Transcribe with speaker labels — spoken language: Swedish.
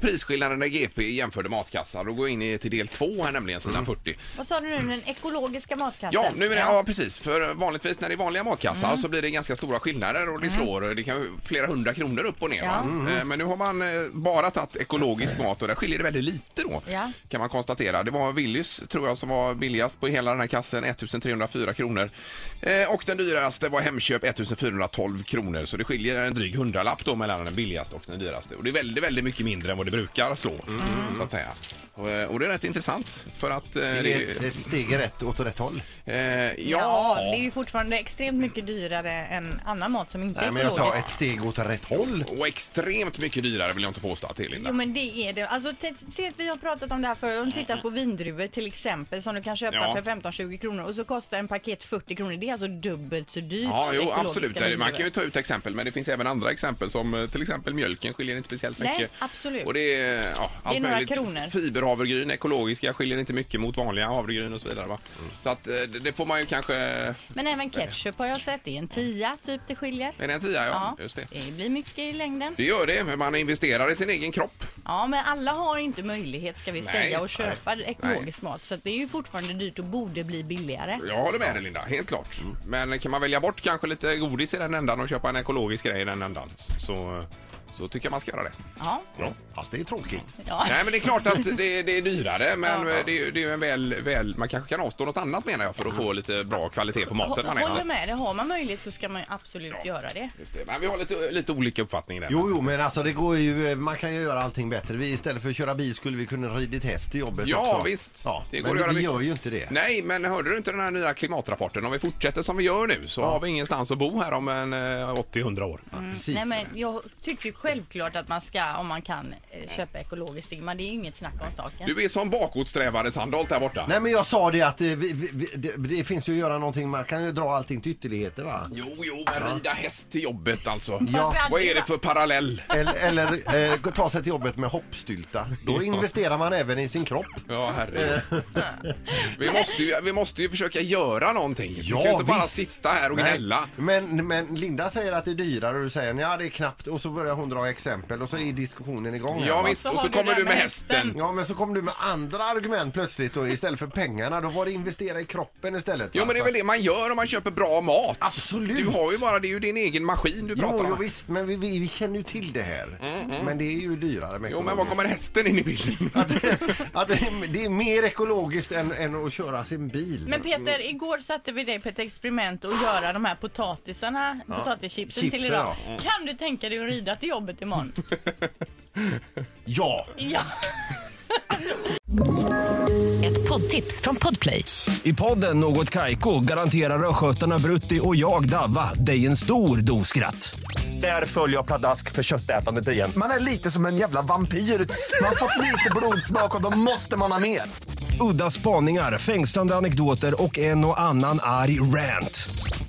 Speaker 1: prisskillnaden när GP jämförde matkassar. Då går jag in i till del två här nämligen, sidan 40.
Speaker 2: Vad sa du nu, den ekologiska matkassen?
Speaker 1: Ja, nu är det, ja, precis. För vanligtvis när det är vanliga matkassar så blir det ganska stora skillnader och det slår det kan ju flera hundra kronor upp och ner.
Speaker 2: Ja.
Speaker 1: va? Eh, Men nu har man eh, bara tagit ekologisk mat och där skiljer det väldigt lite då.
Speaker 2: Ja.
Speaker 1: Kan man konstatera. Det var Willys tror jag som var billigast på hela den här kassen, 1304 kronor. Eh, Och den dyraste var Hemköp 1412 kronor. Så det skiljer en dryg hundralapp då mellan den billigaste och den dyraste. Och det är väldigt, väldigt mycket mindre än vad det brukar slå. Så att säga. Och, eh, och det är rätt intressant för att... eh,
Speaker 3: Det är ett, ett steg i rätt, åt rätt håll.
Speaker 1: Eh,
Speaker 2: Ja,
Speaker 1: ja,
Speaker 2: det är ju fortfarande extremt mycket dyrare än annan mat som inte
Speaker 3: Nej,
Speaker 2: är
Speaker 3: men jag
Speaker 2: ekologisk.
Speaker 3: sa ett steg åt rätt håll.
Speaker 1: och extremt mycket dyrare vill jag inte påstå att det är
Speaker 2: Jo
Speaker 1: Linda.
Speaker 2: men det är det. Alltså, t- se att vi har pratat om det här förut. Om du tittar på vindruvor till exempel som du kan köpa
Speaker 1: Ja.
Speaker 2: för 15-20 kronor och så kostar en paket 40 kronor. Det är alltså dubbelt så dyrt.
Speaker 1: Ja, jo,
Speaker 2: ekologiska
Speaker 1: absolut. Det är- Man
Speaker 2: vindruvor.
Speaker 1: kan ju ta ut exempel, men det finns även andra exempel som eh, till exempel mjölken skiljer inte speciellt
Speaker 2: Nej,
Speaker 1: mycket.
Speaker 2: absolut.
Speaker 1: Och det är, eh, ja, allt
Speaker 2: några
Speaker 1: möjligt.
Speaker 2: kronor.
Speaker 1: Fiberhavregryn, ekologiska, skiljer inte mycket mot vanliga havregryn och så vidare. Va? Så att eh, det det får man ju kanske...
Speaker 2: Men även ketchup har jag sett. Det är en tia typ det skiljer.
Speaker 1: Är det en tia? Ja, just det.
Speaker 2: blir mycket i längden.
Speaker 1: Det gör det, men man investerar i sin egen kropp.
Speaker 2: Ja, men alla har inte möjlighet ska vi
Speaker 1: Nej,
Speaker 2: säga
Speaker 1: nej,
Speaker 2: att köpa ekologisk mat. Så att det är ju fortfarande dyrt och borde bli billigare.
Speaker 1: Jag håller med dig Linda, helt klart. Men kan man välja bort kanske lite godis i den ändan och köpa en ekologisk grej i den ändan så, så tycker jag man ska göra det.
Speaker 2: Ja.
Speaker 3: Ja, fast det är tråkigt.
Speaker 2: ja.
Speaker 1: Nej, men det är klart att det, det är dyrare, men det, är ju- det är ju en väl, väl... Man kanske kan avstå något annat menar jag för att få lite bra kvalitet på maten. man
Speaker 2: Hå- Håller
Speaker 1: äter.
Speaker 2: med dig. Har man möjlighet så ska man ju absolut
Speaker 1: Ja.
Speaker 2: göra det.
Speaker 1: Just det. Men vi har lite, lite olika uppfattningar där.
Speaker 3: Jo, jo, men alltså det går ju, man kan ju göra allting bättre. Vi, istället för att köra bil skulle vi kunna ridit häst till jobbet
Speaker 1: Ja,
Speaker 3: också.
Speaker 1: visst.
Speaker 3: Ja,
Speaker 1: Det går
Speaker 3: men
Speaker 1: att göra
Speaker 3: vi
Speaker 1: mycket.
Speaker 3: gör ju inte det.
Speaker 1: Nej, men hörde du inte den här nya klimatrapporten? Om vi fortsätter som vi gör nu så har vi ingenstans att bo här om en eh, 80-100 år.
Speaker 3: Precis.
Speaker 2: Nej, men jag tycker självklart att man ska, om man kan, eh, köpa ekologiskt. Men det är ju inget snack om saken.
Speaker 1: Du är som bakåtsträvare Sandholt där borta.
Speaker 3: Nej men jag sa det att eh, vi, vi, vi- det, det finns ju att göra någonting, man kan ju dra allting till ytterligheter va?
Speaker 1: Jo, jo, men rida häst till jobbet alltså.
Speaker 3: Ja.
Speaker 1: Vad är det för parallell?
Speaker 3: Eller, eller eh, gå- ta sig till jobbet med hoppstylta. Då investerar man även i sin kropp.
Speaker 1: Ja, herregud. vi, måste ju, vi måste ju försöka göra någonting. vi kan ju inte bara
Speaker 3: visst.
Speaker 1: sitta här och
Speaker 3: Nej,
Speaker 1: gnälla.
Speaker 3: Men, men Linda säger att det är dyrare och du säger ja det är knappt och så börjar hon dra exempel och så är diskussionen igång. här,
Speaker 1: Ja,
Speaker 3: va?
Speaker 1: visst,
Speaker 2: så
Speaker 1: och
Speaker 2: har
Speaker 1: så
Speaker 2: du
Speaker 1: kommer
Speaker 2: det
Speaker 1: du med
Speaker 2: med
Speaker 1: hästen.
Speaker 3: Ja men så kom du med andra argument plötsligt och istället för pengarna då var det investera i kroppen istället.
Speaker 1: Jo,
Speaker 3: va?
Speaker 1: men det är
Speaker 3: Så-
Speaker 1: väl det man gör om man köper bra mat.
Speaker 3: Absolut.
Speaker 1: Du har ju bara, det är ju din egen maskin du pratar
Speaker 3: Jo, jo
Speaker 1: om.
Speaker 3: visst, men vi, vi, vi känner ju till det här. Men det är ju dyrare med
Speaker 1: Mm-hmm. Jo, men var
Speaker 3: ekologiskt.
Speaker 1: kommer hästen in i bilden?
Speaker 3: att det, är, det är mer ekologiskt än, än att köra sin bil.
Speaker 2: Men Peter, igår satte vi dig på ett experiment att göra de här potatisarna, potatischipsen till
Speaker 3: Chipsen,
Speaker 2: idag.
Speaker 3: ja.
Speaker 2: Kan du tänka dig att rida till jobbet imorgon?
Speaker 3: Ja!
Speaker 2: ja!
Speaker 4: Ett poddtips från Podplay.
Speaker 5: I podden Något Kaiko garanterar östgötarna Brutti och jag, Davva, dig en stor dos skratt. Där följer jag pladask för köttätandet igen.
Speaker 6: Man är lite som en jävla vampyr. Man har fått lite blodsmak och då måste man ha mer.
Speaker 5: Udda spaningar, fängslande anekdoter och en och annan arg rant.